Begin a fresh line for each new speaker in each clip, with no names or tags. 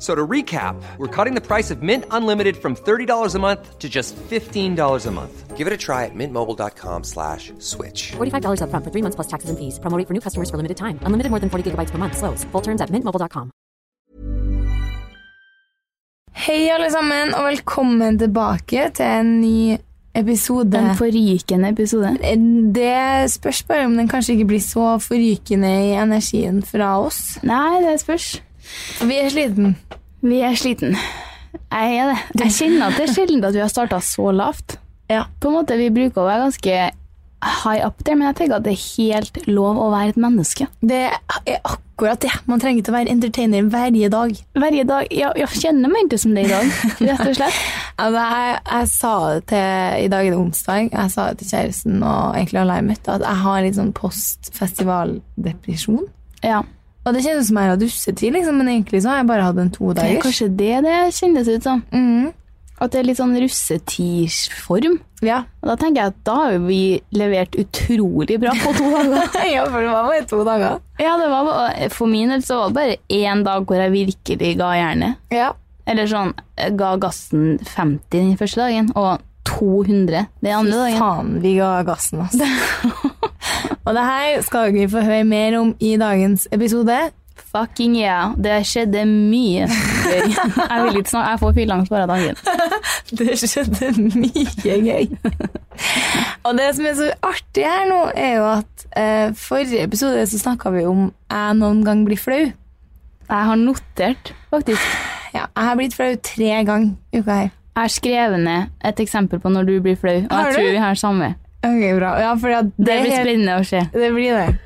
So to recap, we're cutting the price of Mint Unlimited from $30 a month to just $15 a month. Give it a try at mintmobile.com slash switch.
$45 upfront for three months plus taxes and fees. Promo rate for new customers for limited time. Unlimited more than 40 gigabytes per month. Slows. Full terms at mintmobile.com.
Hei, alle sammen, og velkommen tilbake til en ny episode.
En forrykende episode.
Det spørs bare om den kanskje ikke blir så forrykende i energien fra oss.
Nei, det spørs.
For vi er sliten.
Vi er sliten. Jeg er det. Jeg kjenner at det er sjelden at vi har starta så lavt.
Ja.
På en måte, Vi bruker å være ganske high up der, men jeg tenker at det er helt lov å være et menneske.
Det er akkurat det. Man trenger ikke å være entertainer hver dag.
Hver dag, ja, Jeg kjenner meg ikke som det i dag, rett og slett.
Altså, jeg, jeg sa det til I dag er det onsdag. Jeg sa det til kjæresten og egentlig alle jeg møtte, at jeg har litt sånn postfestivaldepresjon.
Ja.
Og det kjennes ut som jeg har russetid, liksom, men egentlig så har jeg bare hatt en to
Det er
dagers.
kanskje det det kjennes ut som.
Mm,
At det er litt sånn russetidsform.
ja.
Og da tenker jeg at da har jo vi levert utrolig bra på to dager.
ja, for det var bare to dager.
ja, det var bare, For min del så var det bare én dag hvor jeg virkelig ga jernet.
Ja.
Eller sånn, jeg ga gassen 50 den første dagen, og 200 den andre dagen.
Faen, vi ga gassen, altså. og det her skal vi få høre mer om i dagens episode.
Fucking yeah, det skjedde mye. gøy. Jeg vil ikke snakke, jeg får fylleangst bare av dagen.
Det skjedde mye gøy. og det som er så artig her nå, er jo at eh, forrige episode så snakka vi om jeg noen gang blir flau.
Jeg har notert, faktisk.
Ja, jeg har blitt flau tre ganger uka her.
Jeg har skrevet ned et eksempel på når du blir flau, og
Har
jeg
du?
tror vi har samme.
Ok, bra. Ja, for det,
Det
er
blir
helt-
spennende å se.
Det blir det.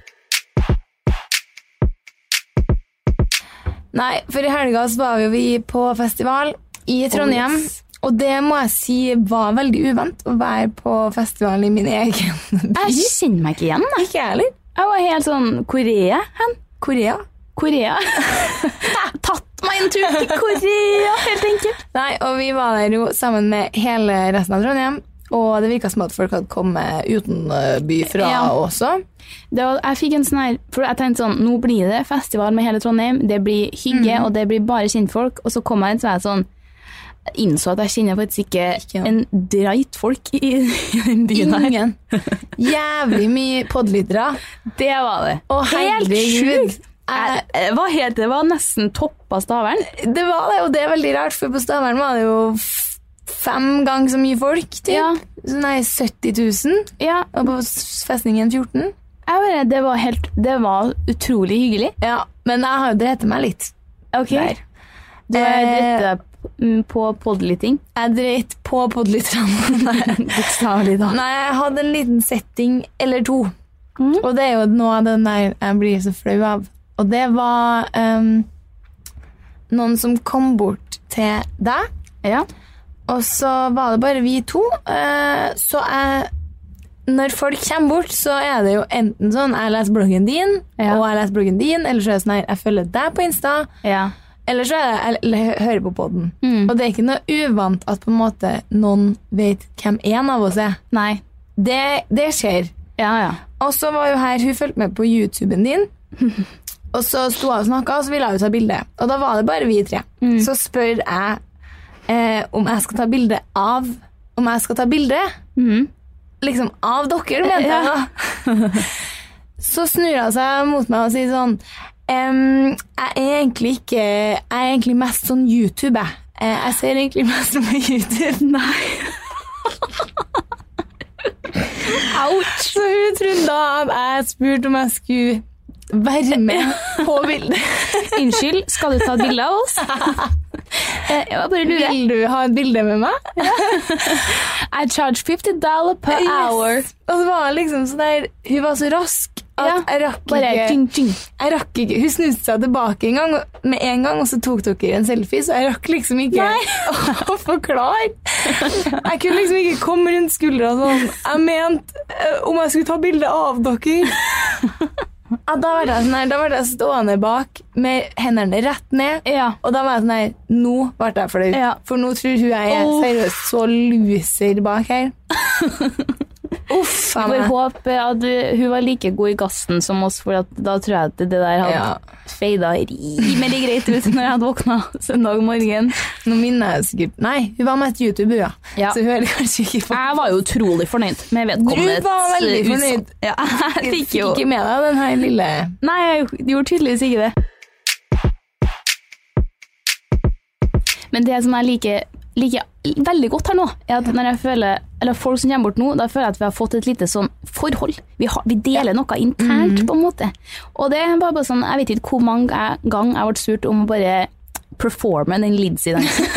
Nei, for i helga så var vi jo i- på festival i Trondheim. Og det må jeg si var veldig uvant, å være på festival i min egen by.
Jeg kjenner meg ikke igjen. jeg.
Ikke jeg heller.
Jeg var helt sånn Korea? Hen?
Korea.
Korea? Tatt meg en tur til Korea, helt enkelt.
Nei, og vi var der jo sammen med hele resten av Trondheim. Og det virka som at folk hadde kommet utenby fra
Ja.
også.
det var, jeg fikk en sånn her, for jeg tenkte sånn, nå blir det festival med hele Trondheim, det blir hygge, og det blir bare kjentfolk, og så kom jeg inn, så var jeg sånn, innså at jeg kjenner faktisk ikke,
Ikke noe.
en dreit folk i, i den byen her.
Ingen. Jævlig mye podlyttere.
Det var det.
Å,
helt
herregud.
sjukt! Jeg- jeg var helt, det var nesten topp av staveren.
Det var det, og det er veldig rart, for på Stavern var det jo f- fem ganger så mye folk. Typ.
Ja.
Så Nei, 70 000,
Ja,
og på s- festningen 14
jeg bare, det var helt, det var utrolig hyggelig.
Ja, men jeg har jo drept meg litt.
Ok.
Der.
Du har
Eh,
dritt deg mm, på podlytting.
Jeg dreit på podlytterne. Nei.
Bokstavlig da.
Nei, jeg hadde en liten setting eller to. Og det er jo noe av den der jeg blir så flau av. Og det var ehm, noen som kom bort til deg,
Ja.
Og så var det bare vi to. eh, Så jeg Når folk kommer bort, så er det jo enten sånn Jeg leser bloggen din,
Ja.
og jeg leser bloggen din, eller så er det sånn her Jeg følger deg på Insta,
Ja.
eller så er det Jeg l- hø- hører på podden.
Mm.
Og det er ikke noe uvant at på en måte noen vet hvem en av oss er.
Nei.
Det, det skjer.
Ja, ja.
Og så var jo her Hun fulgte med på YouTuben din. Og så sto jeg og snakka, og så ville jeg jo ta bilde. Og da var det bare vi tre. Så spør jeg eh, om jeg skal ta bilde av Om jeg skal ta bilde
Mhm.
liksom av dere, mente jeg da. Så snur hun seg mot meg og sier sånn Em, jeg er egentlig ikke Jeg er egentlig mest sånn YouTube, jeg. Eh, Jeg ser egentlig mest på YouTube. Nei. Ouch! Så hun trodde da at jeg spurte om jeg skulle være med på bildet.
Unnskyld, skal du ta et bilde av oss? Eh, Jeg bare lurer.
Vil du ha et bilde med meg?
I charge 50 dollar per
Yes.
hour.
Og så var hun liksom sånn der Hun var så rask at
Ja,
jeg rakk
Bare
ikke
tjing, tjing.
jeg rakk ikke, Hun snuste seg tilbake en gang, og- med en gang, og så tok dere en selfie, så jeg rakk liksom ikke å forklare. Jeg kunne liksom ikke komme rundt skuldra sånn. Jeg mente eh, om jeg skulle ta bilde av dere. Ja, da ble jeg sånn her, da ble jeg stående bak med hendene rett ned.
Ja.
Og da var jeg sånn her Nå ble jeg flau.
Ja.
For nå tror hun jeg er
Åh.
seriøst så loser bak her. Uff a
Får
meg.
håpe at uh, hun var like god i gassen som oss, for at da tror jeg at det der hadde
Ja.
feida rimelig greit ut når jeg hadde våkna søndag morgen.
Nå minner jeg sikkert Nei, hun var med et YouTube, hun, ja.
Ja.
Så hun er kanskje ikke på
Jeg var jo utrolig fornøyd med vedkommende.
Du var veldig fornøyd.
Ja, jeg fikk jo
ikke med deg den her lille
Nei, jeg gjorde tydeligvis ikke det. Men det som jeg liker, liker veldig godt her nå, er at når jeg føler, eller folk som kommer bort nå, da føler jeg at vi har fått et lite sånn forhold. Vi, har, vi deler noe internt, på en måte. Og det er bare, bare sånn, jeg vet ikke hvor mange jeg- gang jeg ble spurt om å bare performe den Lidsy-dansen.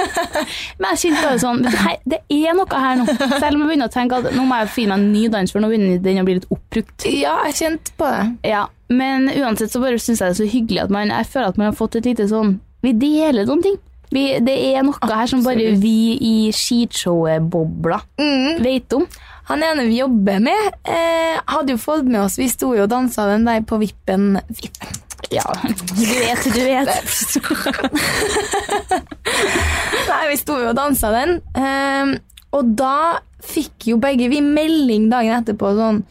Men jeg kjente bare sånn, vet du, hei, det er noe her nå. Selv om jeg begynner å tenke at nå må jeg finne meg en ny dans, for nå begynner den å bli litt oppbrukt.
Ja, jeg kjente på det.
Ja, men uansett så bare synes jeg det er så hyggelig at man, jeg føler at man har fått et lite sånn Vi deler noen ting. Vi, det er noe her som bare vi i skishowet-bobla
Mm.
vet om.
Han ene vi jobber med, eh, hadde jo fått med oss Vi sto jo og dansa den der på vippen. vippen.
Ja, du vet, du vet.
Nei, vi sto jo og dansa den. Eh, og da fikk jo begge vi melding dagen etterpå sånn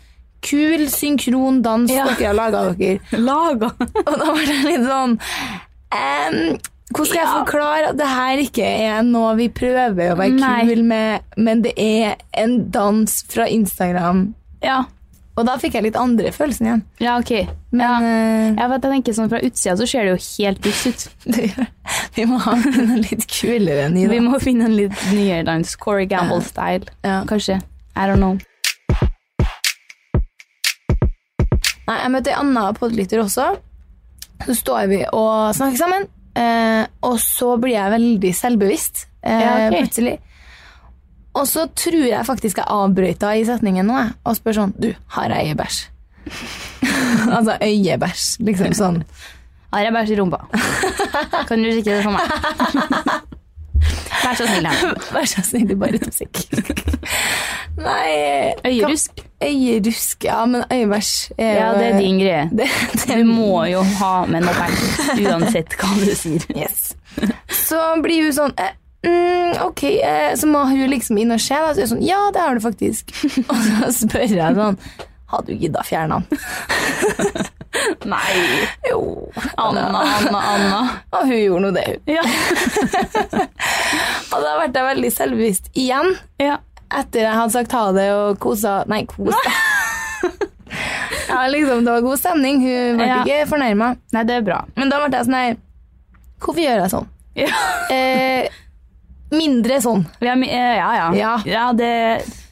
Kul synkron dans
Ja.
dere har laga dere.
Laga.
Og da ble det litt sånn ehm, Hvordan skal jeg forklare at det her ikke er noe vi prøver å være
Nei.
kul med, men det er en dans fra Instagram?
Ja.
Og da fikk jeg litt andre følelsen igjen.
ja, ok.
Men
ja.
eh,
Jeg vet, jeg tenker sånn Fra utsida så ser det jo helt lyst ut.
vi må ha noe litt kulere enn i
Vi
dag.
må finne en litt nyere dans. Corey Gamble-style,
Ja.
kanskje. I don't know.
Nei, jeg møtte ei anna podlytter også. Så står vi og snakker sammen, eh, og så blir jeg veldig selvbevisst eh,
Ja, ok.
plutselig. Og så tror jeg faktisk jeg avbrøyta i setningen nå, jeg, og spør sånn Du, har jeg øyebæsj? altså øyebæsj, liksom sånn.
Har jeg bæsj i rumpa? Kan du kikke det for meg? Vær så snill. her.
Vær så snill, bare to sekunder. Nei
Øyerusk.
Øyerusk, ja, men øyebæsj er
Ja,
jo-
det er din greie.
Det, det
Du må jo ha med noe penger, uansett hva du sier.
Yes. Så blir hun sånn eh, mm, Ok, eh, så må hun liksom inn og se. Da. Så er hun sånn, ja, det har du faktisk. Og så spør jeg sånn Hadde du gidda fjerne han?
Nei.
Jo.
Anna, Anna, Anna.
Og hun gjorde nå det, hun.
Ja.
Og da ble jeg veldig selvbevisst igjen.
ja.
Etter jeg hadde sagt ha det og kosa Nei, kos deg. Ja, liksom, det var god stemning. Hun ble
Ja.
ikke fornærma.
Nei, det er bra.
Men da ble jeg sånn her Hvorfor gjør jeg sånn?
Ja,
Eh, mindre sånn.
ja. men, eh, ja, ja.
Ja.
det,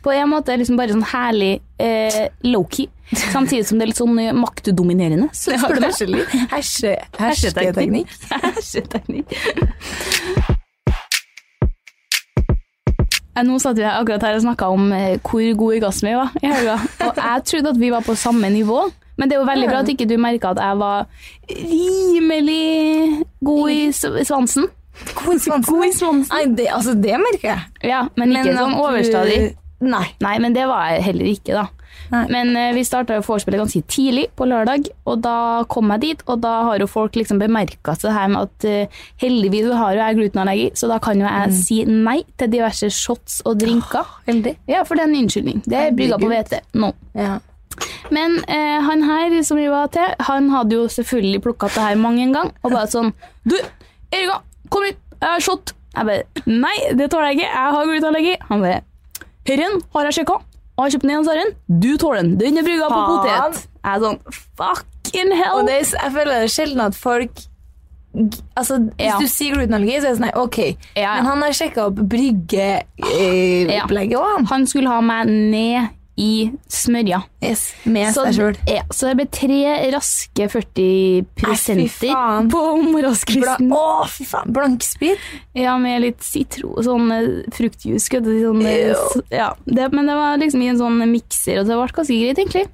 på en måte er det liksom bare sånn herlig eh, low-key, samtidig som det er litt sånn eh, maktdominerende. Så spør du meg.
Herse, hersketeknikk.
Herseteknikk. Ja, Nå satt vi akkurat her og snakka om eh, hvor god i gassen vi var i helga. Og jeg trodde at vi var på samme nivå, men det er jo veldig bra at ikke du merka at jeg var rimelig god i s- svansen.
God i svansen.
God i svansen.
Nei, det, altså, det merker jeg.
Ja, men ikke sånn
at du-
overstadig.
Nei.
Nei, men det var jeg heller ikke, da.
Nei.
Men eh, vi starta vorspielet ganske tidlig på lørdag, og da kom jeg dit. Og da har jo folk liksom bemerka det her med at eh, heldigvis så har jo jeg glutenallergi, så da kan jo jeg si nei til diverse shots og drinker.
Veldig.
Ja, for det er en unnskyldning. Det er brygga på hvete. No.
Ja.
Men eh, han her som vi var til, han hadde jo selvfølgelig plukka opp det her mange en gang, og bare sånn Du, Erika, kom hit! Jeg har shot! Jeg bare Nei, det tåler jeg ikke. Jeg har glutenallergi. Han bare Herren har jeg sjekka, og Har kjøpt den igjen, Saren. Du tåler den. Den er brygga på
Faen.
potet. Jeg er sånn fucking hell.
Og det, er s- jeg føler det er sjelden at folk g- Altså, Hvis
Ja.
du sier glutenallergi, så er det sånn nei, OK.
Ja.
Men han har sjekka opp bryggeopplegget eh,
Ja.
opplegget også, han.
Han skulle ha meg ned i smørja.
Yes, med
Så,
seg sjøl.
ja, så det ble tre raske 40
Nei, fy faen.
på morgenskvisten.
Å, fy faen. Blanksprit.
Ja, med litt sitro, sånn eh, fruktjuice. skulle jeg til å si, Sånn,
Ew.
eh, s- ja. det, men det var liksom i en sånn mikser, og det ble ganske greit, egentlig.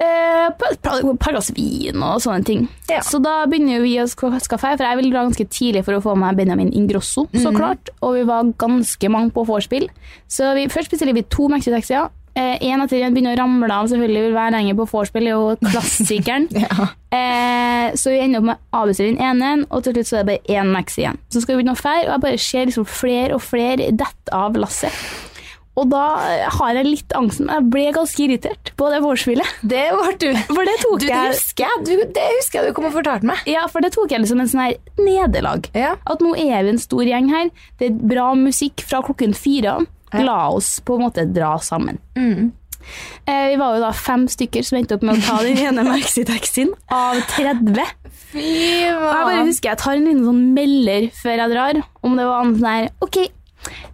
Eh, på et par- par glass vin og sånne ting.
Ja.
Så da begynner jo vi å sk- skaffe her, for jeg ville dra ganske tidlig for å få med Benjamin Ingrosso, så klart. Og vi var ganske mange på vorspiel. Så vi, først bestiller vi to Mexitaxier. Én etter en begynner å ramle av, selvfølgelig vil være lenger på vorspiel, det er jo klassikeren.
Ja.
Eh, så vi ender opp med å avbestille den ene, og til slutt så er det bare én Max igjen. Så skal vi begynne å fære, og jeg bare ser liksom flere og flere dette av lasset. Og da eh, har jeg litt angsten, men jeg ble ganske irritert på det vorspielet.
Det ble du.
For det tok
Du, det
jeg
husker jeg. Du, det husker jeg du kom og fortalte meg.
Ja, for det tok jeg liksom en sånn her nederlag.
Ja.
At nå er vi en stor gjeng her, det er bra musikk fra klokken fire. La oss på en måte dra sammen.
Mm.
Eh, vi var jo da fem stykker som endte opp med å ta den ene maxitaxien av 30.
Fy
Og jeg bare husker jeg tar en liten sånn melder før jeg drar, om det var sånn her Ok,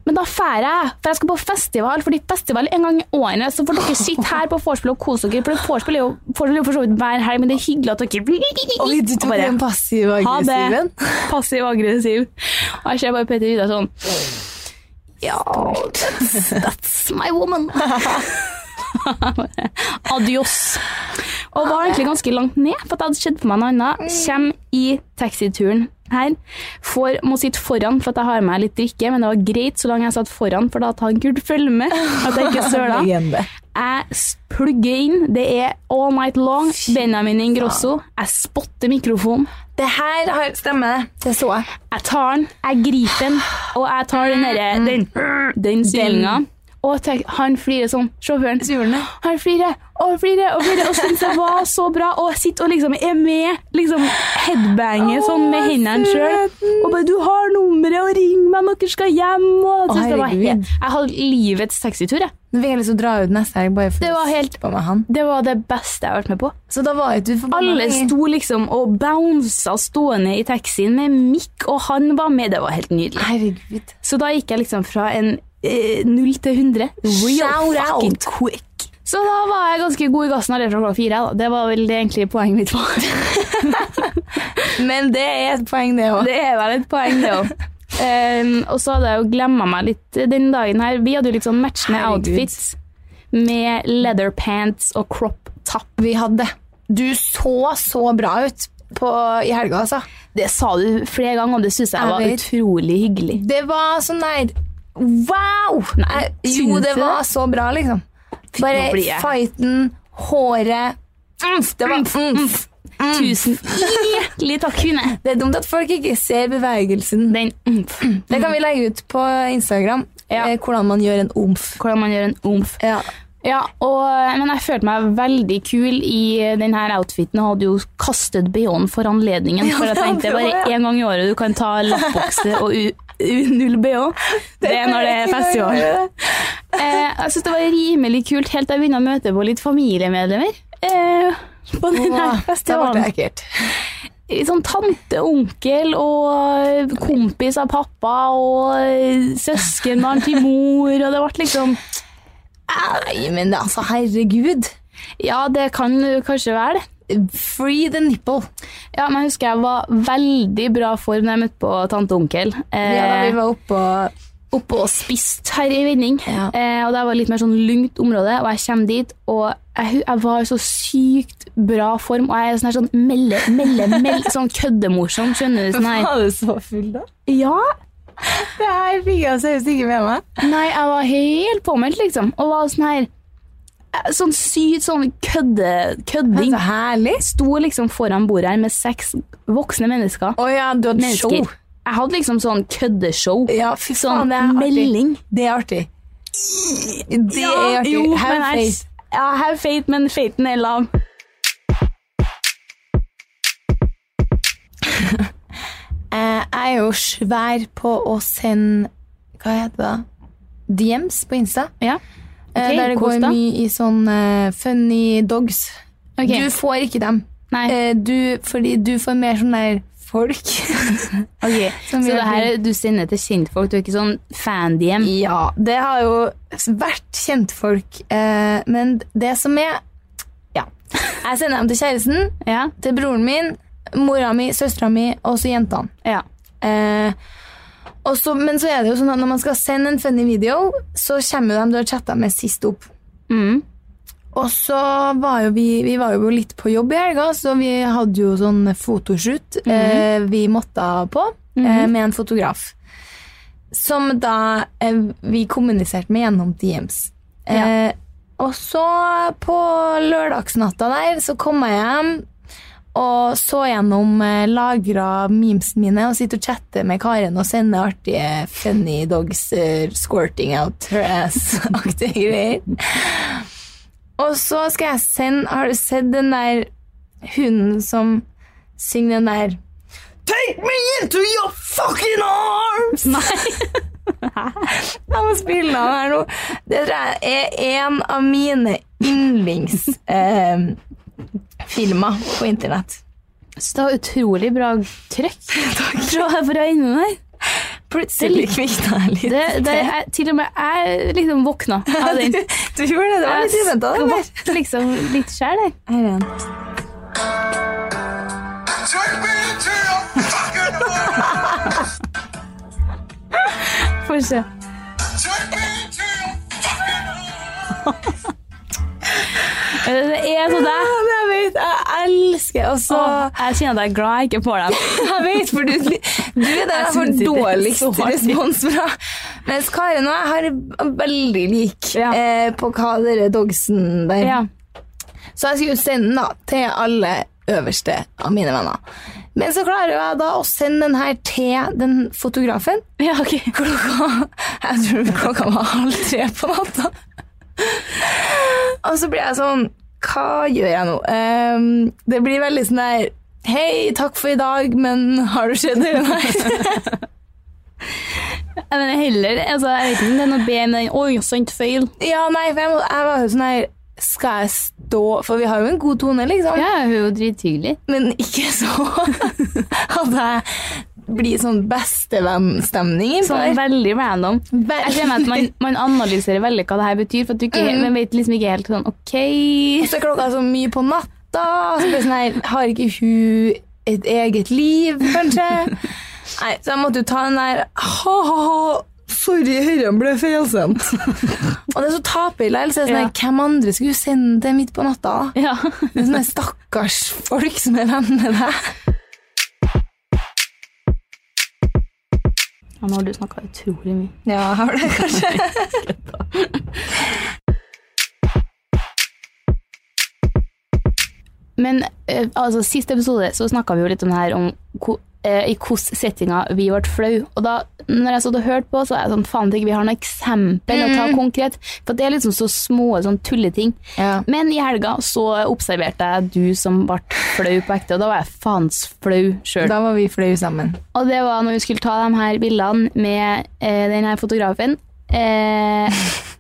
men da drar jeg, for jeg skal på festival, fordi festival er en gang i året. Så får dere sitte her på vorspiel og kose dere, for vorspiel er jo vorspiel er jo for så vidt hver helg, men det er hyggelig at dere
Oi, du tok
Og bare,
den passive
Ha det.
aggressiven.
Passiv og aggressiv. Og jeg ser bare Petter Vidar sånn Ja, that's, that's my woman. Bare, Adios. Og var egentlig ganske langt ned, for at jeg hadde sett for meg noe annet. Kjem i taxituren her. Får, må sitte foran, for at jeg har med litt drikke, men det var greit så lenge jeg satt foran, for da at han kunne følge med. At jeg ikke søla.
Legende.
Jeg s- plugger inn. Det er all night long. Benjamin Ingrosso. Jeg spotter mikrofonen.
Det her har stemmer. Det så jeg.
Jeg tar den, jeg griper den, og jeg tar den derre Den, den sylinga. Og tenk, han flirer sånn. Sjåføren.
Surne.
Han flirer og flirer og flirer og syns det var så bra. Og jeg sitter og liksom er med. Liksom headbanger sånn med
Åh,
hendene sjøl.
søten.
Og bare 'Du har nummeret, og ring meg når dere skal hjem.' Og jeg, synes det var
herregud.
helt, jeg hadde livets taxitur, jeg.
Nå fikk jeg lyst til å dra ut neste helg bare for
Det
å
var helt-
sitte på med han.
Det var det beste jeg har vært med på.
Så da var jo du forbanna
Alle
lenge.
sto liksom og bounsa stående i taxien med mikk, og han var med. Det var helt nydelig.
Herregud.
Så da gikk jeg liksom fra en eh, 0 til 100.
Shout out.
fucking quick. Så da var jeg ganske god i gassen allerede fra klokka fire. Da. Det var vel det egentlig poenget mitt var.
Men det er et poeng, det òg.
Det er vel et poeng, det òg. og så hadde jeg jo glemma meg litt den dagen her. Vi hadde jo liksom matchende
Herregud.
outfits med leather pants og crop top.
Vi hadde. Du så så bra ut på, i helga, altså.
Det sa du flere ganger, og det syns jeg,
Jeg
var
vet.
utrolig hyggelig.
Det var sånn der Wow!
Nei,
Jeg- jo,
syns
det
du
var
det?
så bra, liksom.
nå blir
Bare
jeg-
fighten, håret Umf, Det var umf.
Tusen hjertelig Mm. takk, Kune.
Det er dumt at folk ikke ser bevegelsen.
Den mm.
Det kan vi legge ut på Instagram,
Ja.
eh, hvordan man gjør en umf.
Hvordan man gjør en omf.
Ja.
Ja, og, men jeg følte meg veldig kul i denne outfiten og hadde jo kastet BH-en for anledningen. For jeg tenkte
det var
bare
det, ja.
én gang i året du kan ta lappbokse og u, u, null BH. Det er når det er festival. Eh, jeg syns det var rimelig kult helt til jeg begynte å møte på litt familiemedlemmer. Eh, på den
Åh, Det
her
var
festivalen.
ekkelt.
Litt Sånn tante, onkel og kompis av pappa og søskenbarn til mor, og det ble liksom
Nei, men altså, herregud.
Ja, det kan kanskje være det.
Free the nipple.
Ja, men jeg husker jeg var veldig bra form da jeg møtte på tante og onkel. Eh,
Ja, da vi var oppå
Oppe og spist her i vending.
Ja.
Eh, og det var litt mer sånn lungt område, og jeg kommer dit, og jeg, hu- jeg var i så sykt bra form, og jeg er sånn her sånn melle, melle, melle, sånn køddemorsom, skjønner du? Sånn her.
du så full, da?
Ja,
Det her fikk jeg seriøst ikke med meg.
nei, jeg var helt påmeldt, liksom, og var sånn her, eh, sånn sykt sånn kødde,
Men
kødding.
så Altså, herlig.
Sto liksom foran bordet her med seks voksne mennesker,
Å ja, du hadde
mennesker.
show.
Jeg hadde liksom sånn køddeshow.
Ja, fy
Sånn
faen, det er artig.
melding.
Det er artig. Det er artig.
Jo,
Have
men jeg-
faith.
Ja, have faith, men faithen er lav.
Eh, Jeg er jo svær på å sende Hva heter det? da? DMs på Insta.
Ja.
eh,
Ok,
der det
kos
går
da.
mye i sånn eh, funny dogs.
Ok.
Du får ikke dem.
Nei.
Eh, du, fordi du får mer sånn der folk.
Ok,
Som
Så
gjør
det her du sender til kjentfolk, du er ikke sånn fan-DM?
ja, det har jo vært kjentfolk. Eh, men det som er Ja. Jeg sender dem til kjæresten,
Ja.
til broren min, mora mi, søstera mi og så jentene.
ja.
Eh, og så- men så er det jo sånn at når man skal sende en funny video, så kommer jo dem du har chatta med, sist opp.
Mm.
Og så var jo vi, vi var jo litt på jobb i helga, så vi hadde jo sånn fotoshoot eh, vi måtte på eh, med en fotograf. Som da eh, vi kommuniserte med gjennom DMs. Eh, Og så på lørdagsnatta der så kom jeg hjem og så gjennom eh, lagra memesene mine og sitter og chatter med Karen og sender artige funny dogs eh, squirting out her ass-aktige greier. Og så skal jeg sende Har du sett den der hunden som synger den der Take me into your fucking arms! Jeg må spille den her nå. Det tror jeg er en av mine yndlingsfilmer filmer på internett.
Så det var utrolig bra trøkk fra, fra enden der.
Plutselig kvikna jeg litt.
Det, det er, til og med jeg liksom våkna av den.
Du gjorde det. Det var litt uventa.
Jeg skvatt liksom litt sjæl, jeg.
Her er den.
Take me into your fucking world.
Får se.
Take me into your fucking world.
Det det
Ja,
er så deg.
men jeg vet. Jeg elsker Og så
Åh, Jeg kjenner at jeg er glad jeg ikke får dem.
Jeg vet, for du, du er der jeg får
synes ikke det er så
dårligst
artig.
respons fra. Mens Karen og jeg har veldig lik
Ja.
eh, på hva dere dogsen der.
Ja.
Så jeg skulle sende den da, til alle øverste av mine venner. Men så klarer jeg da å sende den her til den fotografen.
ja, ok.
Klokka, jeg tror klokka var halv tre på natta. Og så blir jeg sånn Hva gjør jeg nå? Ehm, det blir veldig sånn der Hei, takk for i dag, men har du skjedd eller nei?
Jeg mener heller altså, Jeg vet ikke om det er noe B med den. Oi, sant feil.
ja, nei, for jeg, må, jeg var jo sånn her Skal jeg stå For vi har jo en god tone, liksom.
Ja, hun er jo drithyggelig.
Men ikke så at jeg blir sånn bestevennstemning. innpå
Sånn
der.
veldig random. Jeg ser meg at man, man analyserer veldig hva det her betyr, for at du ikke,
Mm.
man vet liksom ikke helt sånn OK
Så er klokka så mye på natta. Så blir det sånn her, Har ikke hun et eget liv, kanskje? Nei, så jeg måtte jo ta den der ha-ha-ha. Sorry, herren ble feilsendt. og det er så taperlig. Så er det sånn her,
Ja.
Hvem andre skulle hun sende til midt på natta? da?
Ja.
Det er sånne stakkars folk som er venn med deg.
ja nå har du snakka utrolig mye.
Ja, har det kanskje.
Men eh, altså, sist episode så snakka vi jo litt om det her om ko, eh, i hvilke settinger vi ble flau. Og da når jeg satt og hørte på, så er jeg sånn faen ikke vi har noe eksempel å ta konkret. For det er liksom så små sånn tulleting.
Ja.
Men i helga så observerte jeg du som ble flau på ekte, og da var jeg faens flau sjøl.
Da var vi flaue sammen.
Og det var når vi skulle ta de her bildene med eh, den her fotografen. Eh,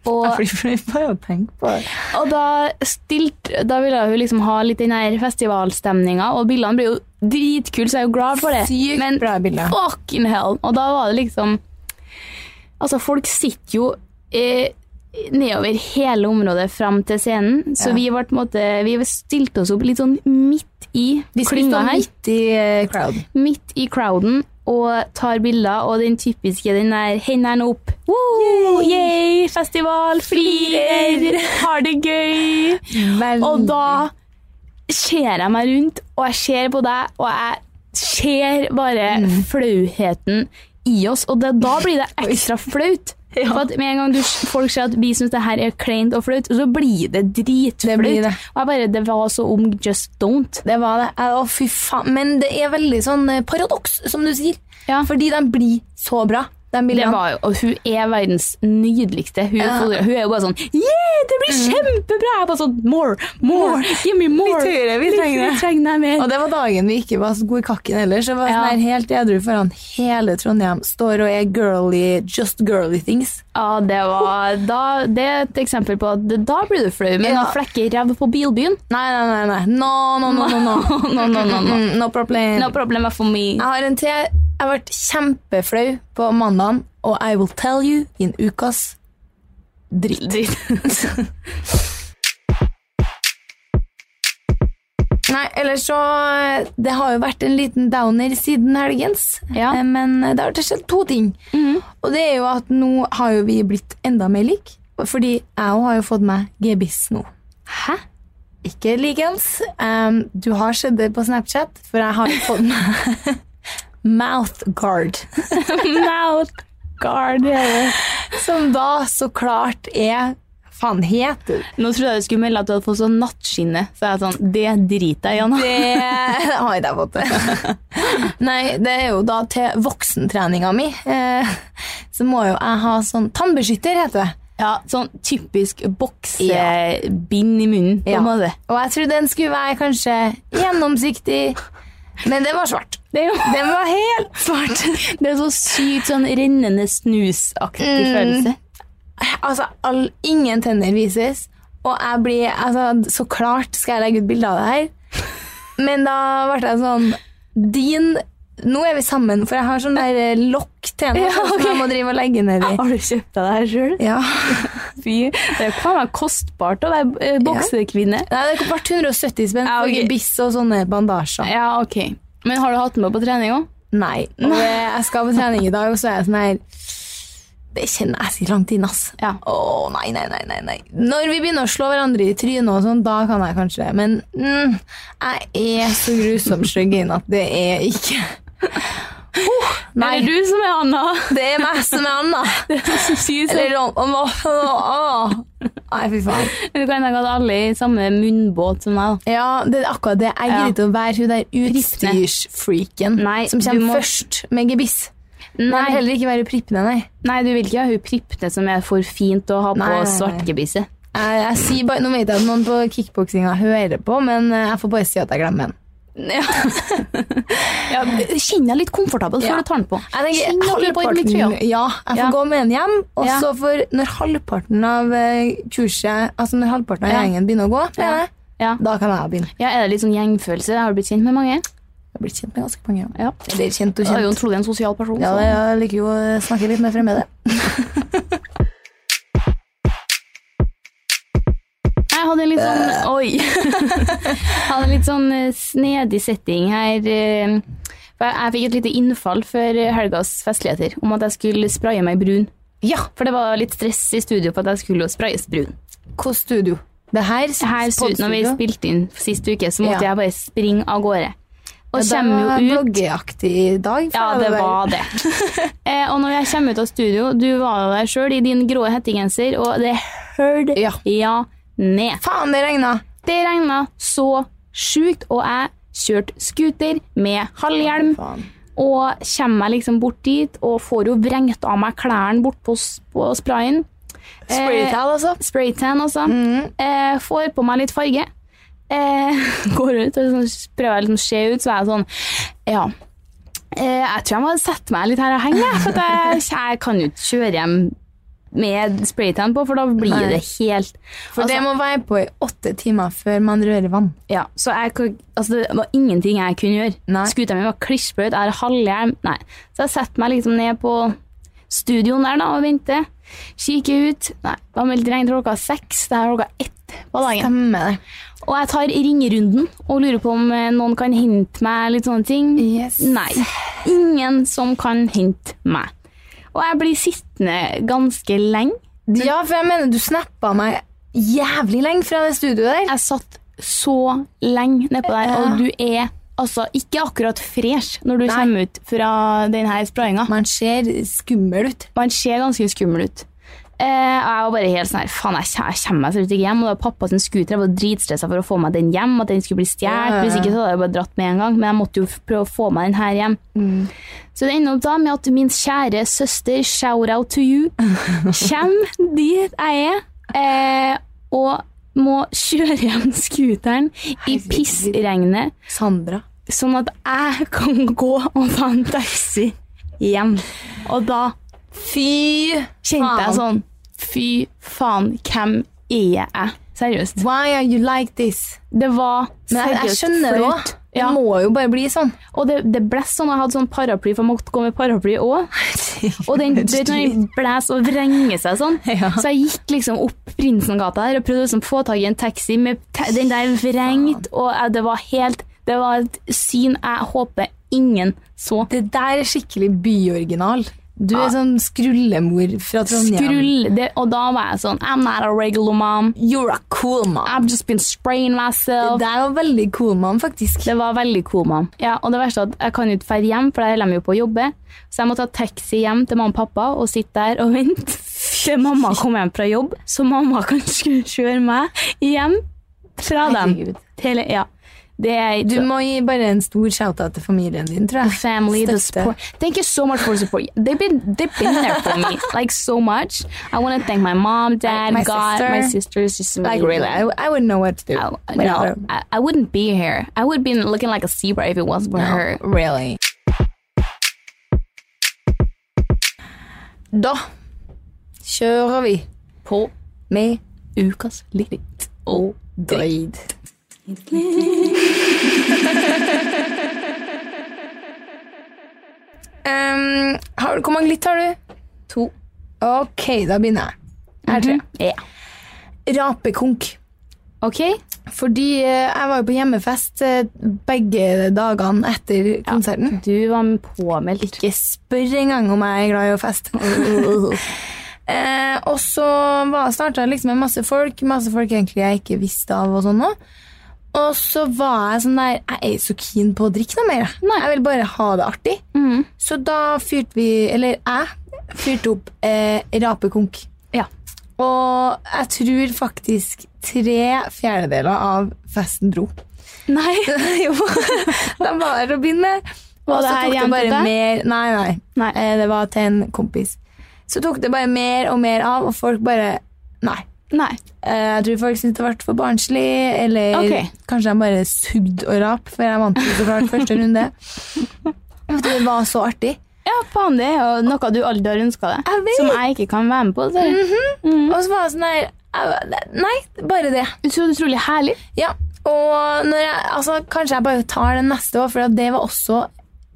og,
blir flau bare av å tenke på det.
og da, stilt, da ville hun liksom ha litt den her festivalstemninga, og bildene ble jo dritkule, så jeg er jo glad for det.
Sykt
Men
bra bilde.
fucking hell! Og da var det liksom Altså, folk sitter jo eh, nedover hele området fram til scenen, så
Ja.
vi ble på en måte Vi stilte oss opp litt sånn midt i
Vi skulle
klynga
stå
her
midt i eh, crowden.
midt i crowden og tar bilder, og den typiske den der hendene opp. Woo, yay, festival, flirer, har det gøy.
Veldig.
Og da ser jeg meg rundt, og jeg ser på deg, og jeg ser bare
Mm.
flauheten i oss, og det, da blir det ekstra flaut. For at Med en gang du, folk ser at vi syns det her er kleint og flaut, så blir det
Det blir
dritflaut.
det.
Og jeg bare Det var så om just don't.
Det var det. Jeg- Å, fy faen. Men det er veldig sånn eh, paradoks, som du sier.
Ja.
Fordi de blir så bra. De
Det
bildene.
var jo, og hun er verdens nydeligste. Hun, er fotogra- hun er jo bare sånn yeah! det blir kjempebra! Jeg bare sånn More, more, give me more!
Mm. Litt høyere, vi
Litt
trenger det.
høyere trenger jeg mer.
Og det var dagen vi ikke var så gode i kakken ellers. Jeg var
Ja.
sånn her helt edru foran hele Trondheim. Står og er girly, just girly things.
Ja, det var da, Det er et eksempel på at da blir du flau, men
Ja.
å flekke ræv på bilbyen
Nei, nei, nei. nei. No, no, no, no. No,
No, no, no, no.
Mm, no problem.
No problem for me.
Jeg har en te. Jeg ble kjempeflau på mandagen, og I will tell you in ukas dritt. Nei, ellers så eh, Det har jo vært en liten downer siden helgens.
Ja. Mhm.
Eh, Men det har skjedd to ting. Og det er jo at nå har jo vi blitt enda mer like. Fordi jeg òg har jo fått meg gebiss nå.
Hæ?
Ikke likens. Um, du har sett det på Snapchat, for jeg har jo fått meg mouth guard.
Mouth guard.
Som da så klart er Faen, heter det
Nå trodde jeg du skulle melde at du hadde fått sånn nattskinne. Så jeg er sånn, det driter jeg i, Anna.
Det har ikke jeg fått det. Nei, det er jo da til voksentreninga mi. eh, Så må jo jeg ha sånn Tannbeskytter heter det.
Ja, sånn typisk boksebind eh, i munnen. på en
Ja.
måte.
Og jeg trodde den skulle være kanskje gjennomsiktig, men den var svart.
Det er jo
Den var helt svart.
det er så sykt sånn rennende snusaktig følelse.
Altså, all, ingen tenner vises, og jeg blir altså, Så klart skal jeg legge ut bilde av det her. Men da ble jeg sånn Din Nå er vi sammen, for jeg har sånn der eh, lokk til henne
Ja,
sånn som jeg må drive og legge ned i.
Har du kjøpt deg det her sjøl?
Ja.
Fy. Det kan være kostbart å være eh, boksekvinne.
Nei, det ble 170 spenn
Ja,
for
ok.
gebiss og sånne bandasjer.
Ja, ok. Men har du hatt den med på trening òg?
Nei. Og eh, jeg skal på trening i dag, og så er jeg sånn her Det kjenner jeg sier langt inn, ass.
Ja.
Å, nei, nei, nei, nei, nei. Når vi begynner å slå hverandre i trynet og sånn, da kan jeg kanskje det. Men mm, jeg er så grusomt stygg inn at det er ikke Huh, Nei,
Er det du som er Anna?
det er meg som er Anna.
Eller
Eller om- om- om- å. Nei, fy faen.
du kan tenke at alle er i samme munnbåt som meg. da.
Ja, det er akkurat det. Jeg gidder
Ja.
ikke å være hun der utstyrsfreaken
Nei,
som
du
kommer
må-
først med gebiss. Nei. Jeg vil heller ikke være prippende, nei.
Nei, du vil ikke ha hun pripne som er for fint å ha på
Nei, nei, nei.
svartgebisset.
Jeg, jeg sier bare, Nå vet jeg at noen på kickboksinga hører på, men eh, jeg får bare si at jeg glemmer den.
Ja. ja, Kjenn deg litt komfortabel før
Ja.
du tar den på.
Jeg
Kjenn
tenker,
deg litt varm i
halvparten,
trøya.
ja, jeg får
Ja.
gå med den hjem, og
Ja.
så får når halvparten av eh, kurset, altså når halvparten av
Ja.
gjengen begynner å gå, mener jeg,
Ja.
da kan jeg begynne.
ja, Er det litt sånn gjengfølelse? Har du blitt kjent med mange?
Jeg har blitt kjent med ganske mange. ja.
Ja.
Eller kjent og
Du er jo
kjent.
trolig en sosial person.
Ja,
så-
det, jeg liker jo å snakke litt med fremmede.
Jeg hadde en litt sånn
Eh.
Oi! Jeg hadde en litt sånn eh, snedig setting her. eh, For jeg- jeg fikk et lite innfall før eh, helgas festligheter om at jeg skulle spraye meg brun.
Ja,
For det var litt stress i studio på at jeg skulle jo sprayes brun.
hva studio? Det her,
Her stu- når vi
podstudio?
spilte inn sist uke, så måtte
Ja.
jeg bare springe av gårde. Og
Ja, det
kommer
var
jo ut
bloggeaktig i dag. for
Ja,
jeg
det
der.
var det. eh, og når jeg kommer ut av studio, du var jo der sjøl i din grå hettegenser, og det høl
Ja.
ja. ned.
Faen, det regna!
Det regna så sjukt, og jeg kjørte scooter med halvhjelm.
Faen.
Og kommer meg liksom bort dit og får jo vrengt av meg klærne bortpå på sprayen. Eh,
Spraytall, altså.
Spraytan, altså.
Mm.
Eh, får på meg litt farge. Eh, går ut og sånn, prøver å liksom se ut, så er jeg sånn Ja. Eh, jeg tror jeg må sette meg litt her og henge, jeg, for at jeg, jeg kan jo ikke kjøre hjem med spraytan på, for da blir
Nei. Altså-
det helt
For det
Altså-
må være på i åtte timer før man rører vann.
Ja, så jeg, kan- altså det var ingenting jeg kunne gjøre.
Nei.
Skuta mi var klissbløt, jeg har halvhjelm. Nei. Så jeg setter meg liksom ned på studioen der da, og venter. Kikker ut. Nei, det var meldt regn til klokka seks. Det er klokka ett på dagen.
Stemmer det.
Og jeg tar ringerunden og lurer på om eh, noen kan hente meg, litt sånne ting.
Yes.
Nei. Ingen som kan hente meg. Og jeg blir sittende ganske lenge.
Ja, for jeg mener, du snappa meg jævlig lenge fra det studioet der.
Jeg satt så lenge nedpå der,
Ja.
og du er altså ikke akkurat fresh når du kommer ut fra denne sprayinga.
Man ser skummel ut.
Man ser ganske skummel ut. Eh, og jeg var bare helt sånn her, faen, jeg, kje- jeg kommer meg selvfølgelig ikke hjem. Og det var pappa sin scooter, jeg var dritstressa for å få meg den hjem, at den skulle bli stjålet.
Ja, ja,
Hvis ikke så hadde jeg bare dratt med en gang, men jeg måtte jo f- prøve å få meg den her hjem.
Mm.
Så det ender opp da med at min kjære søster, shout out to you, kommer dit jeg er, Eh, og må kjøre hjem scooteren i pissregnet,
Sandra.
sånn at jeg kan gå og ta en taxi hjem. Og da
Fy
kjente jeg
faen.
sånn Fy faen, hvem er jeg? Seriøst.
Why are you like this?
Det var
Men jeg, jeg
seriøst
skjønner det
flaut.
òg.
Ja.
Det må jo bare bli sånn.
Og det, det blæs sånn, jeg hadde sånn paraply, for jeg måtte gå med paraply òg. Og den, du vet når den blæs og vrenger seg sånn.
Ja.
Så jeg gikk liksom opp Prinsengata her og prøvde liksom å få tak i en taxi med ta den der vrengt, og jeg, det var helt Det var et syn jeg håper ingen så.
Det der er skikkelig byoriginal. Du er sånn skrullemor fra Trondheim.
Skrull. Det, og da var jeg sånn I'm not a regular mom.
You're a cool mom.
I've just been spraying myself.
Det der var veldig cool mom, faktisk.
Det var veldig cool, mann. Ja, og det verste er at jeg kan jo ikke dra hjem, for der holder de jo på å jobbe. Så jeg må ta taxi hjem til mamma og pappa og sitte der og vente til mamma kommer hjem fra jobb, så mamma kan sk- kjøre meg hjem fra dem.
Herregud.
Til, ja. Det er
Du må gi bare en stor shout-out til familien din, tror jeg.
family, the
Støtte.
support. Thank you so much for the support. They've been they've been there for me like so much. I want to thank my mom, dad,
My
God,
sister.
my sisters. Just
Like, really, I, I wouldn't know what to do.
I, no,
without her.
I, I wouldn't be here. I would be looking like a zebra if it wasn't for her.
Really. Da kjører vi
På
med
ukas litt og
Drøyd. um, har, hvor mange litt har du?
to.
Ok, da begynner jeg. Her er tre.
Ja.
Rapekonk.
Ok,
Fordi eh, jeg var jo på hjemmefest eh, begge dagene etter konserten.
du var påmeldt.
Ikke spør engang om jeg er glad i å feste. eh, og så starta jeg liksom med masse folk, masse folk egentlig jeg ikke visste av. Og sånn nå. Og så var jeg sånn der Jeg er så keen på å drikke noe mer. jeg. Jeg vil bare ha det artig. Så da fyrte vi, eller jeg, fyrte opp eh, rapekonk.
Ja.
Og jeg tror faktisk tre fjerdedeler av festen dro.
Nei.
Jo, det var her å begynne. Og
Var det
så
her
tok det
hjem til
bare
deg?
mer Nei, nei.
Nei.
Eh, Det var til en kompis. Så tok det bare mer og mer av, og folk bare Nei.
Nei.
Eh, Jeg tror folk syntes det ble for barnslig, eller
Ok.
kanskje de bare sugde og rap, for jeg vant jo så klart første runde. Vet du, Det var så artig.
Ja, faen, det er jo noe du aldri har ønska deg.
Jeg vet. Mhm.
Som jeg ikke kan være med på. Det er
Og så var det sånn der jeg- Nei, bare det.
utro- utrolig herlig.
Ja, og når jeg, altså, kanskje jeg bare tar den neste år, for det var også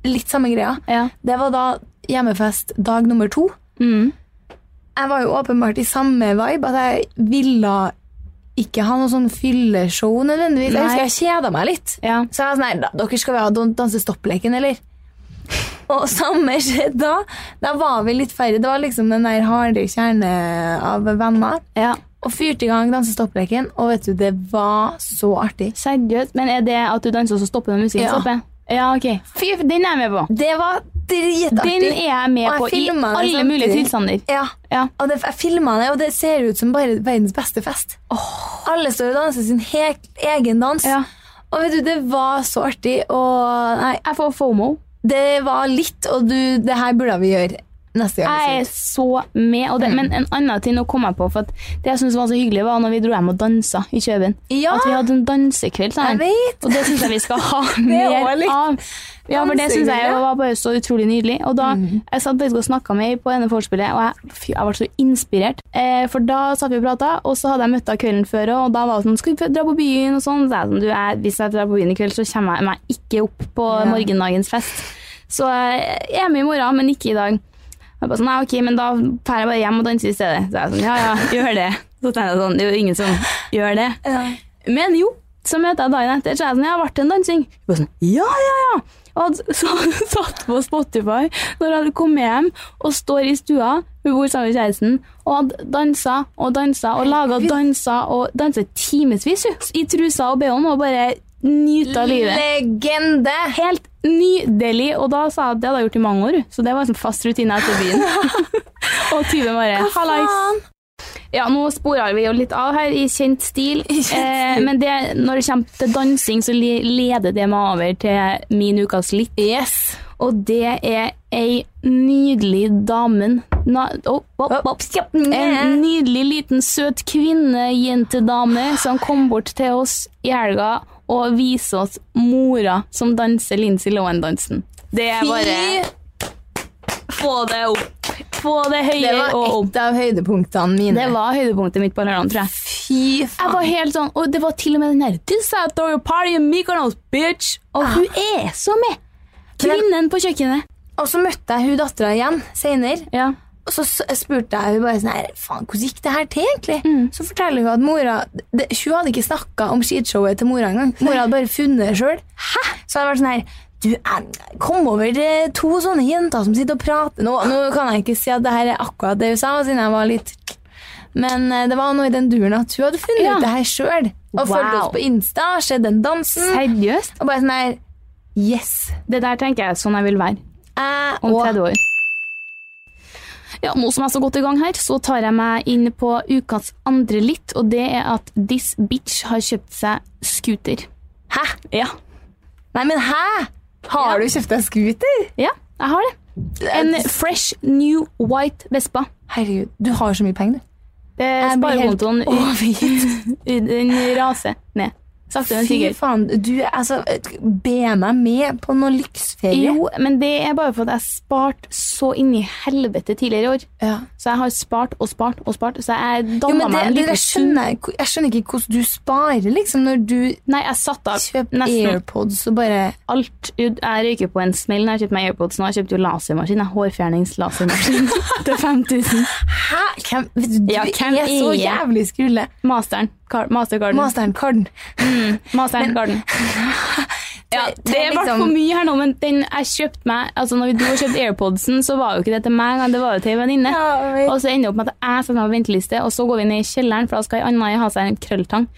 litt samme greia.
Ja.
Det var da hjemmefest dag nummer to.
Mm.
Jeg var jo åpenbart i samme vibe, at jeg ville ikke ha noe sånn fylleshow nødvendigvis. Jeg
Nei.
husker jeg kjeda meg litt.
Ja.
Så jeg var sånn her, «Da, dere skal vel ha don- danse stoppleken, eller? Og samme skjedde da. Da var vi litt færre. Det var liksom den der harde kjerne av venner.
ja.
Og fyrte i gang danse stoppleken, og vet du, det var så artig.
Seriøst. Men er det at du danser, og så stopper når musikken
Ja.
stopper? Ja, ok. Fy, den er jeg med på.
Det var dritartig.
Den er jeg med
Og jeg
på i
filmer det
alle
samtidig.
mulige tilstander.
Ja.
Ja.
Og det, jeg filma det, og det ser ut som bare verdens beste fest. Alle står og danser sin helt egen dans.
Ja.
Og vet du, det var så artig, og nei,
Jeg får fomo.
det var litt, og du, det her burde vi gjøre neste gang.
Jeg er så med.
Mm.
Og det, Men en annen ting nå kom jeg på, for at det jeg syntes var så hyggelig, var når vi dro hjem og dansa i Kjøben.
Ja.
At vi hadde en
Jeg
dansekveld sammen.
vet.
Og det syns jeg vi skal ha
er også
mer
litt
av. Ja, for det syns jeg
dansekveld, ja.
var bare så utrolig nydelig. Og da,
Mm.
Jeg satt faktisk og snakka med ei på ene forspillet, og jeg, fy, jeg ble så inspirert. Eh, for da satt vi og prata, og så hadde jeg møtt henne kvelden før, og da var hun sånn Skal vi dra på byen? og sånn. Så jeg, sånn, du, jeg, hvis jeg drar på byen i kveld, så kommer jeg meg ikke opp på morgendagens fest. Så eh, jeg er med i morgen, men ikke i dag. Og Jeg bare sånn, nei, ok, men da drar jeg bare hjem og danser i stedet. Så jeg sånn, ja, ja, gjør det. Så tenkte jeg sånn, det er jo ingen som gjør det. Men jo, så møter jeg dagen etter, så er jeg sånn, ja, ble det en dansing? Hun bare sånn, ja, ja, ja. Og så satt på Spotify når jeg kom hjem og står i stua, hun bor sammen med kjæresten, og hadde dansa og dansa og laget dansa og danset timesvis hun, i trusa og behånd og bare nyta livet.
Legende!
Helt nydelig, og da sa jeg at det hadde jeg gjort i mange år, så det var en sånn fast rutine etter byen. og Tyve bare, hallais.
Faen.
Ja, nå sporer vi jo litt av her i kjent stil, eh, men det, når det kommer til dansing, så li- leder det meg over til min ukas litt.
Yes.
Og det er ei nydelig damen Na, oh, oh, oh. En nydelig liten søt kvinne, jentedame, som kom bort til oss i helga og viser oss mora som danser Lindsay Lohan-dansen. Det er bare Få det opp. Få
Det
det høyere
var
og opp.
et av høydepunktene mine.
Det var høydepunktet mitt på lørdagen, tror jeg.
Fy
Jeg var
faen.
helt sånn, og det var til og med den her This I throw a party in Mykonos, bitch Og hun
Ah.
er så med Kvinnen på kjøkkenet
Og så møtte jeg hun dattera igjen senere.
ja.
Og så s- spurte jeg hun bare sånn her, faen, hvordan gikk det her til egentlig? Så forteller hun at mora, det, hun hadde ikke snakket om skitshowet til mora engang. Mora hadde bare funnet det selv. Hæ? Så hadde vært sånn her, du, jeg kom over eh, to sånne jenter som sitter og prater. Nå, nå kan jeg ikke si at det her er akkurat det hun sa, siden jeg var litt... Men eh, det var noe i den duren at hun hadde funnet
Ja.
ut det her selv. Og
Wow.
følte oss på Insta, skjedde den dansen.
Seriøst?
Og bare sånn her, yes.
Det der tenker jeg er sånn jeg vil være
Jeg
om
og-
30 år ja, nå som jeg er så godt i gang her, så tar jeg meg inn på ukas andre litt, og det er at this bitch har kjøpt seg scooter.
Hæ?
Ja,
Nei, men hæ? Har du kjøpt en skuter?
ja, jeg har det. En fresh new white Vespa.
Herregud, du har så mye penger, du.
Det
Jeg blir helt
sparekontoen
overgitt.
Den raser ned. Sakte, men
Fy
sikkert.
faen, du altså, be meg med på noen lyksferie.
Jo, men det er bare for at jeg sparte så inn i helvete tidligere i år.
Ja.
Så jeg har spart og spart og spart. Så jeg
Jo,
danna
men det,
meg en
det,
liten
jeg, skjønner, jeg skjønner ikke hvordan du sparer, liksom, når du
Nei, jeg satte av
kjøper
nesten
AirPods og bare
alt. ut. Jeg røyker på en smell når jeg kjøper meg AirPods nå. Jeg kjøpte jo lasermaskin. Jeg har Hårfjerningslasermaskin til 5000.
Hæ? Hvem, vet du, du
Ja, hvem
er så
er jeg?
jævlig skrulle.
Masteren. Car Mastergarden.
Masteren Karden.
Masteren Garden. Mm. Ja, det ble
liksom-
for mye her nå, men den jeg kjøpte meg Altså, når du har kjøpt AirPodsen, så var jo ikke det til meg engang, det var jo til en venninne.
Ja, men-
og så ender det opp med at jeg setter meg på venteliste, og så går vi ned i kjelleren, for da skal ei anna ha seg en krølltang.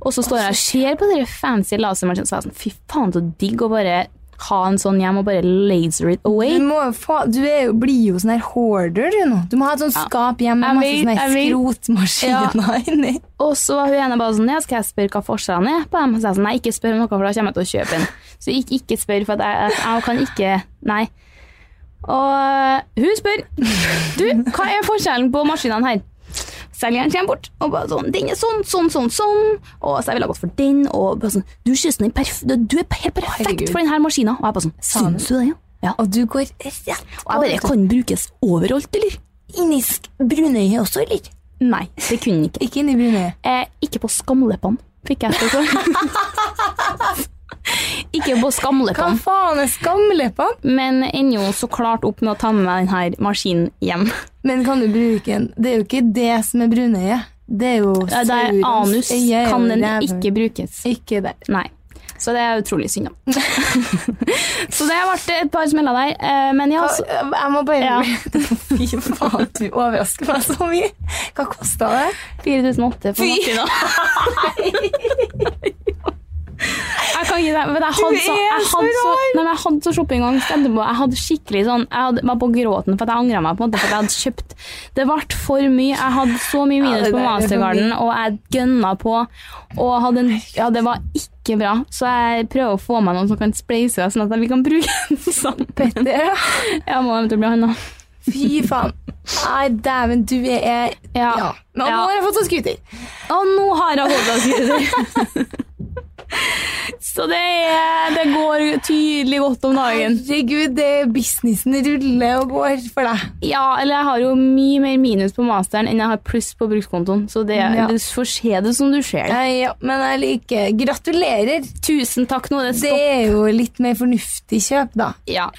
Og så står jeg og ser på den fancy lasermaskinen, så er jeg sånn fy faen, så digg å bare ha en sånn hjem og bare laser it away.
Du, må, jo fa- du er jo, blir jo sånn her hoarder, du nå. Du må ha et sånt skap hjemme med masse
Jeg vil-
sånne her
jeg vil-
skrotmaskiner inni.
Og så var hun ene bare sånn, ja, skal jeg spørre hva forskjellen er på dem? Så jeg sånn, nei, ikke spør om noe, for da kommer jeg til å kjøpe en. Så ikke, ikke spør, for at jeg, jeg, jeg kan ikke, nei. Og øh, hun spør, du, hva er forskjellen på maskinene her? Selgeren kommer bort og bare sånn, den er sånn, sånn, sånn, sånn. Og så jeg ville ha gått for den, og bare sånn, du, Kirsten, den perf du du er helt perfekt
Herregud.
for denne maskinen. Og jeg bare sånn, synes du det, ja? Ja.
Og du går rett
Og jeg bare, kan den brukes overalt, eller?
inn i sk- brunøyet også, eller?
Nei, det kunne den ikke.
Ikke inn i brunøyet.
Eh, ikke på skamleppene, fikk jeg til å si. Ikke på
Hva
skamleppene,
faen er skamleppene?
men ender jo så klart opp med å ta med meg denne maskinen hjem.
Men kan du bruke en Det er jo ikke det som er brunøye. Det er jo
Eh, Der
saurens
anus
øye og
kan den
ræven.
ikke brukes.
Ikke der.
Nei. Så det er utrolig synd, da. så det ble et par smeller der. eh, Men ja, så,
Altså, Jeg må bare
Ja.
Fy faen, du overrasker meg så mye. Hva kosta det?
4008 for maskinen. Jeg kan ikke det, men jeg hadde så, jeg
er så
hadde så,
rar.
nei, men jeg hadde så shoppingangst etterpå. Jeg hadde skikkelig sånn, jeg hadde, var på gråten for at jeg angret meg på en måte for at jeg hadde kjøpt. Det ble for mye. Jeg hadde så mye
Ja,
minus
det
på
der er for
Mastergarden, og jeg gønna på. Og hadde en, ja, det var ikke bra. Så jeg prøver å få meg noen som kan spleise det, sånn at vi kan bruke den sammen.
Petter?
Jeg må eventuelt bli handlet.
Fy faen. Nei, dæven, du er
Ja.
Ja. Nå nå
Ja.
har jeg fått sånn scooter.
Og nå har jeg holdt av skuter. Så det, er, det går tydelig godt om dagen.
Herregud, det er businessen ruller og går for deg.
Ja, eller jeg har jo mye mer minus på masteren enn jeg har pluss på brukskontoen. Så det,
Ja.
du får se det som du ser det.
Nei, ja, men jeg liker Gratulerer.
Tusen takk nå, det
Det
stopper.
er jo litt mer fornuftig kjøp, da.
Ja.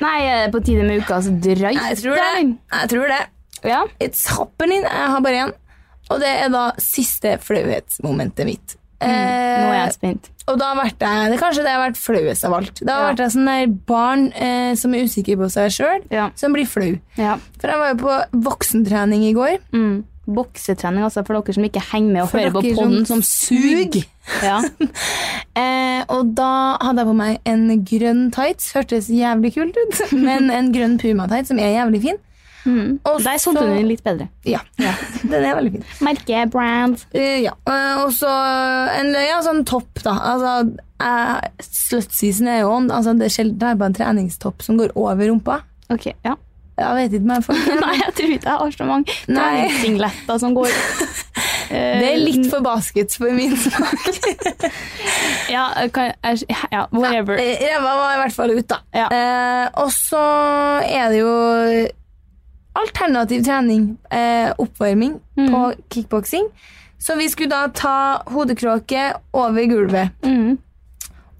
Nei, er det på tide med ukas drøy?
Jeg tror det. Jeg tror det.
Ja.
It's happening. Jeg har bare én. Og det er da siste flauhetsmomentet mitt. Eh,
Mm, Nå er jeg spent.
og da ble jeg, det er kanskje det jeg har vært flauest av alt. Da
Ja.
ble jeg sånn der barn eh, som er usikker på seg sjøl,
Ja.
som blir flau.
Ja.
For jeg var jo på voksentrening i går.
Mm. Boksetrening, altså, for dere som ikke henger med og hører på
dere
podden som sug. Ja.
Eh, og da hadde jeg på meg en grønn tights. Hørtes jævlig kult ut, men en grønn puma-tights som er jævlig fin. Og
Mm. Der solgte hun den litt bedre.
Ja, den er veldig fin.
Merke, brand.
Eh, ja. Eh, og så en ja, sånn topp, da. Altså, jeg- Slutseason er jo on. Altså, det er sjelden jeg har på en treningstopp som går over rumpa.
Ok, ja.
Jeg vet ikke, men folk,
Nei, jeg tror ikke jeg har så mange
Nei.
treningssingletter som går. Eh,
det er litt for basket for min smak.
Ja, kan, jeg, ja whatever.
Eh, Ræva var i hvert fall ute, da.
Ja.
Eh, og så er det jo alternativ trening, eh, oppvarming,
Mm.
på kickboksing. Så vi skulle da ta hodekråke over gulvet.
Mm.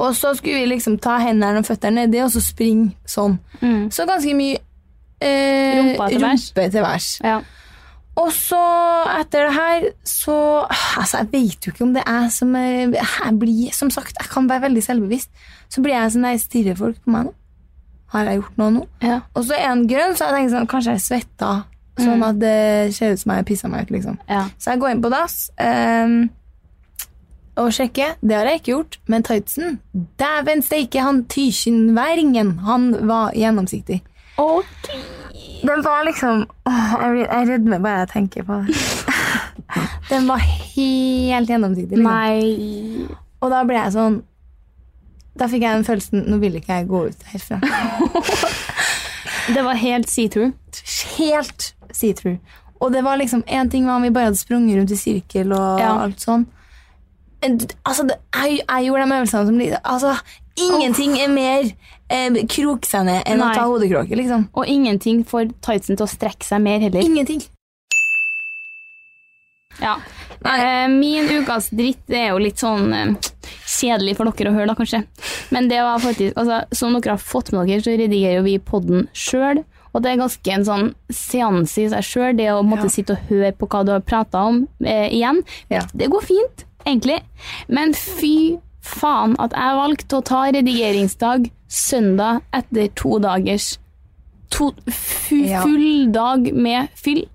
Og så skulle vi liksom ta hendene og føttene nedi og så springe sånn.
Mm.
Så ganske mye eh,
Rumpa til værs.
rumpe til værs.
Ja.
Og så etter det her, så Altså, jeg vet jo ikke om det er som eh, Jeg blir, som sagt, jeg kan være veldig selvbevisst. Så blir jeg sånn der stirrer folk på meg nå. Har jeg gjort noe nå?
Ja.
Og så er han grønn, så jeg tenker sånn Kanskje jeg svetta, sånn at det ser ut som jeg pissa meg ut, liksom.
Ja.
Så jeg går inn på dass ehm, og sjekker. Det har jeg ikke gjort, men tightsen Dæven steike, han Tyskjenværingen, han var gjennomsiktig.
Ok.
Den var liksom åh, Jeg blir- jeg rødmer bare jeg tenker på det. Den var helt gjennomsiktig. Liksom.
Nei.
Og da ble jeg sånn Da fikk jeg den følelsen Nå vil ikke jeg gå ut herfra.
Det var helt see-through.
Helt see-through. Og det var liksom én ting var om vi bare hadde sprunget rundt i sirkel og
Ja.
alt sånn. En- Altså, det, jeg, jeg gjorde de øvelsene som de- Altså, ingenting er mer eh, krok seg ned enn
Nei.
å ta hodekråke, liksom.
Og ingenting får tightsen til å strekke seg mer heller.
Ingenting.
Ja. Eh, Min ukas dritt det er jo litt sånn eh, kjedelig for dere å høre, da, kanskje. Men det var faktisk, altså, som dere har fått med dere, så redigerer jo vi podden sjøl. Og det er ganske en sånn seanse i seg sjøl, det å måtte sitte og høre på hva du har prata om eh, igjen.
Ja.
Det går fint, egentlig. Men fy faen at jeg valgte å ta redigeringsdag søndag etter to dagers to, fu,
Ja.
full dag med fyll.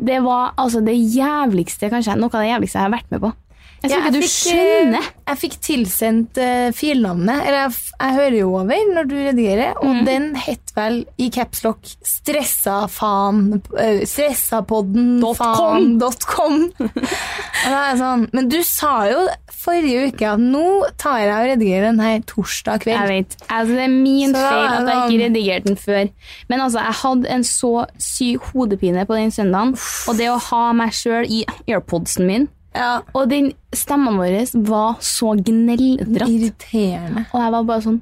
Det var altså det jævligste, kanskje, noe av det jævligste jeg har vært med på. Jeg tror
Ja,
ikke du
fikk, eh,
skjønner.
Jeg fikk tilsendt eh, filnavnet, eller jeg, f- jeg hører jo over når du redigerer, og
Mhm.
den het vel i caps lock 'stressa faen', eh, 'stressapodden
Dot
faen dot com. og da er jeg sånn, men du sa jo forrige uke at nå tar jeg og redigerer den her torsdag
Jeg
kveld.
vet. Altså, det er min
Så da
feil
er
at
det
jeg
sånn-
ikke redigerte den før. Men altså, jeg hadde en så syk hodepine på den søndagen, og det å ha meg sjøl i airpodsen min
Ja,
Og den stemmen vår var så gneldrete.
irriterende.
Og jeg var bare sånn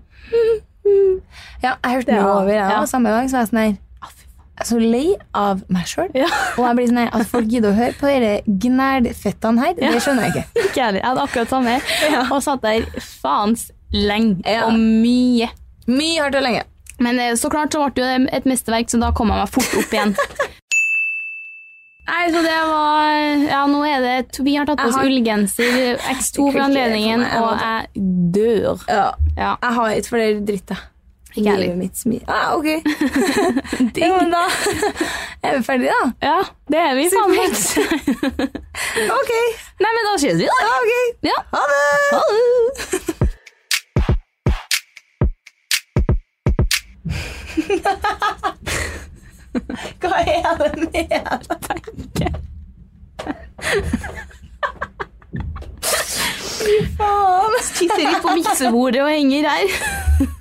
Ja, jeg hørte den jo
var-
over, jeg
ja.
òg. Samme dag så var jeg sånn her «Ah, fy faen, jeg er så lei av meg sjøl. Og jeg blir sånn her, at folk gidder å høre på disse gnælfettene her, det skjønner jeg ikke.
Ikke heller. Jeg hadde akkurat samme. Og satt der faens lenge
Ja.
og mye.
Mye hardt og lenge.
Men eh, så klart så ble det jo et mesterverk, så da kom jeg meg fort opp igjen. Nei, så det var Ja, nå er det to- Vi har tatt på oss
Jeg har-
ullgenser X2 for
klikker
anledningen,
for meg. Jeg
og
må ta-
jeg dør.
Ja,
Ja.
jeg har ikke flere dritt, da.
Ikke heller.
Livet mitt smir. Ah, ok. ja, men da er vi ferdige, da.
ja, det er vi faen meg.
Ok.
Nei, men da ses vi, da.
Ja, ok.
Ja.
Ha det!
Ha det.
Hva er det med deg? Fy faen.
Sitter på miksebordet og henger her.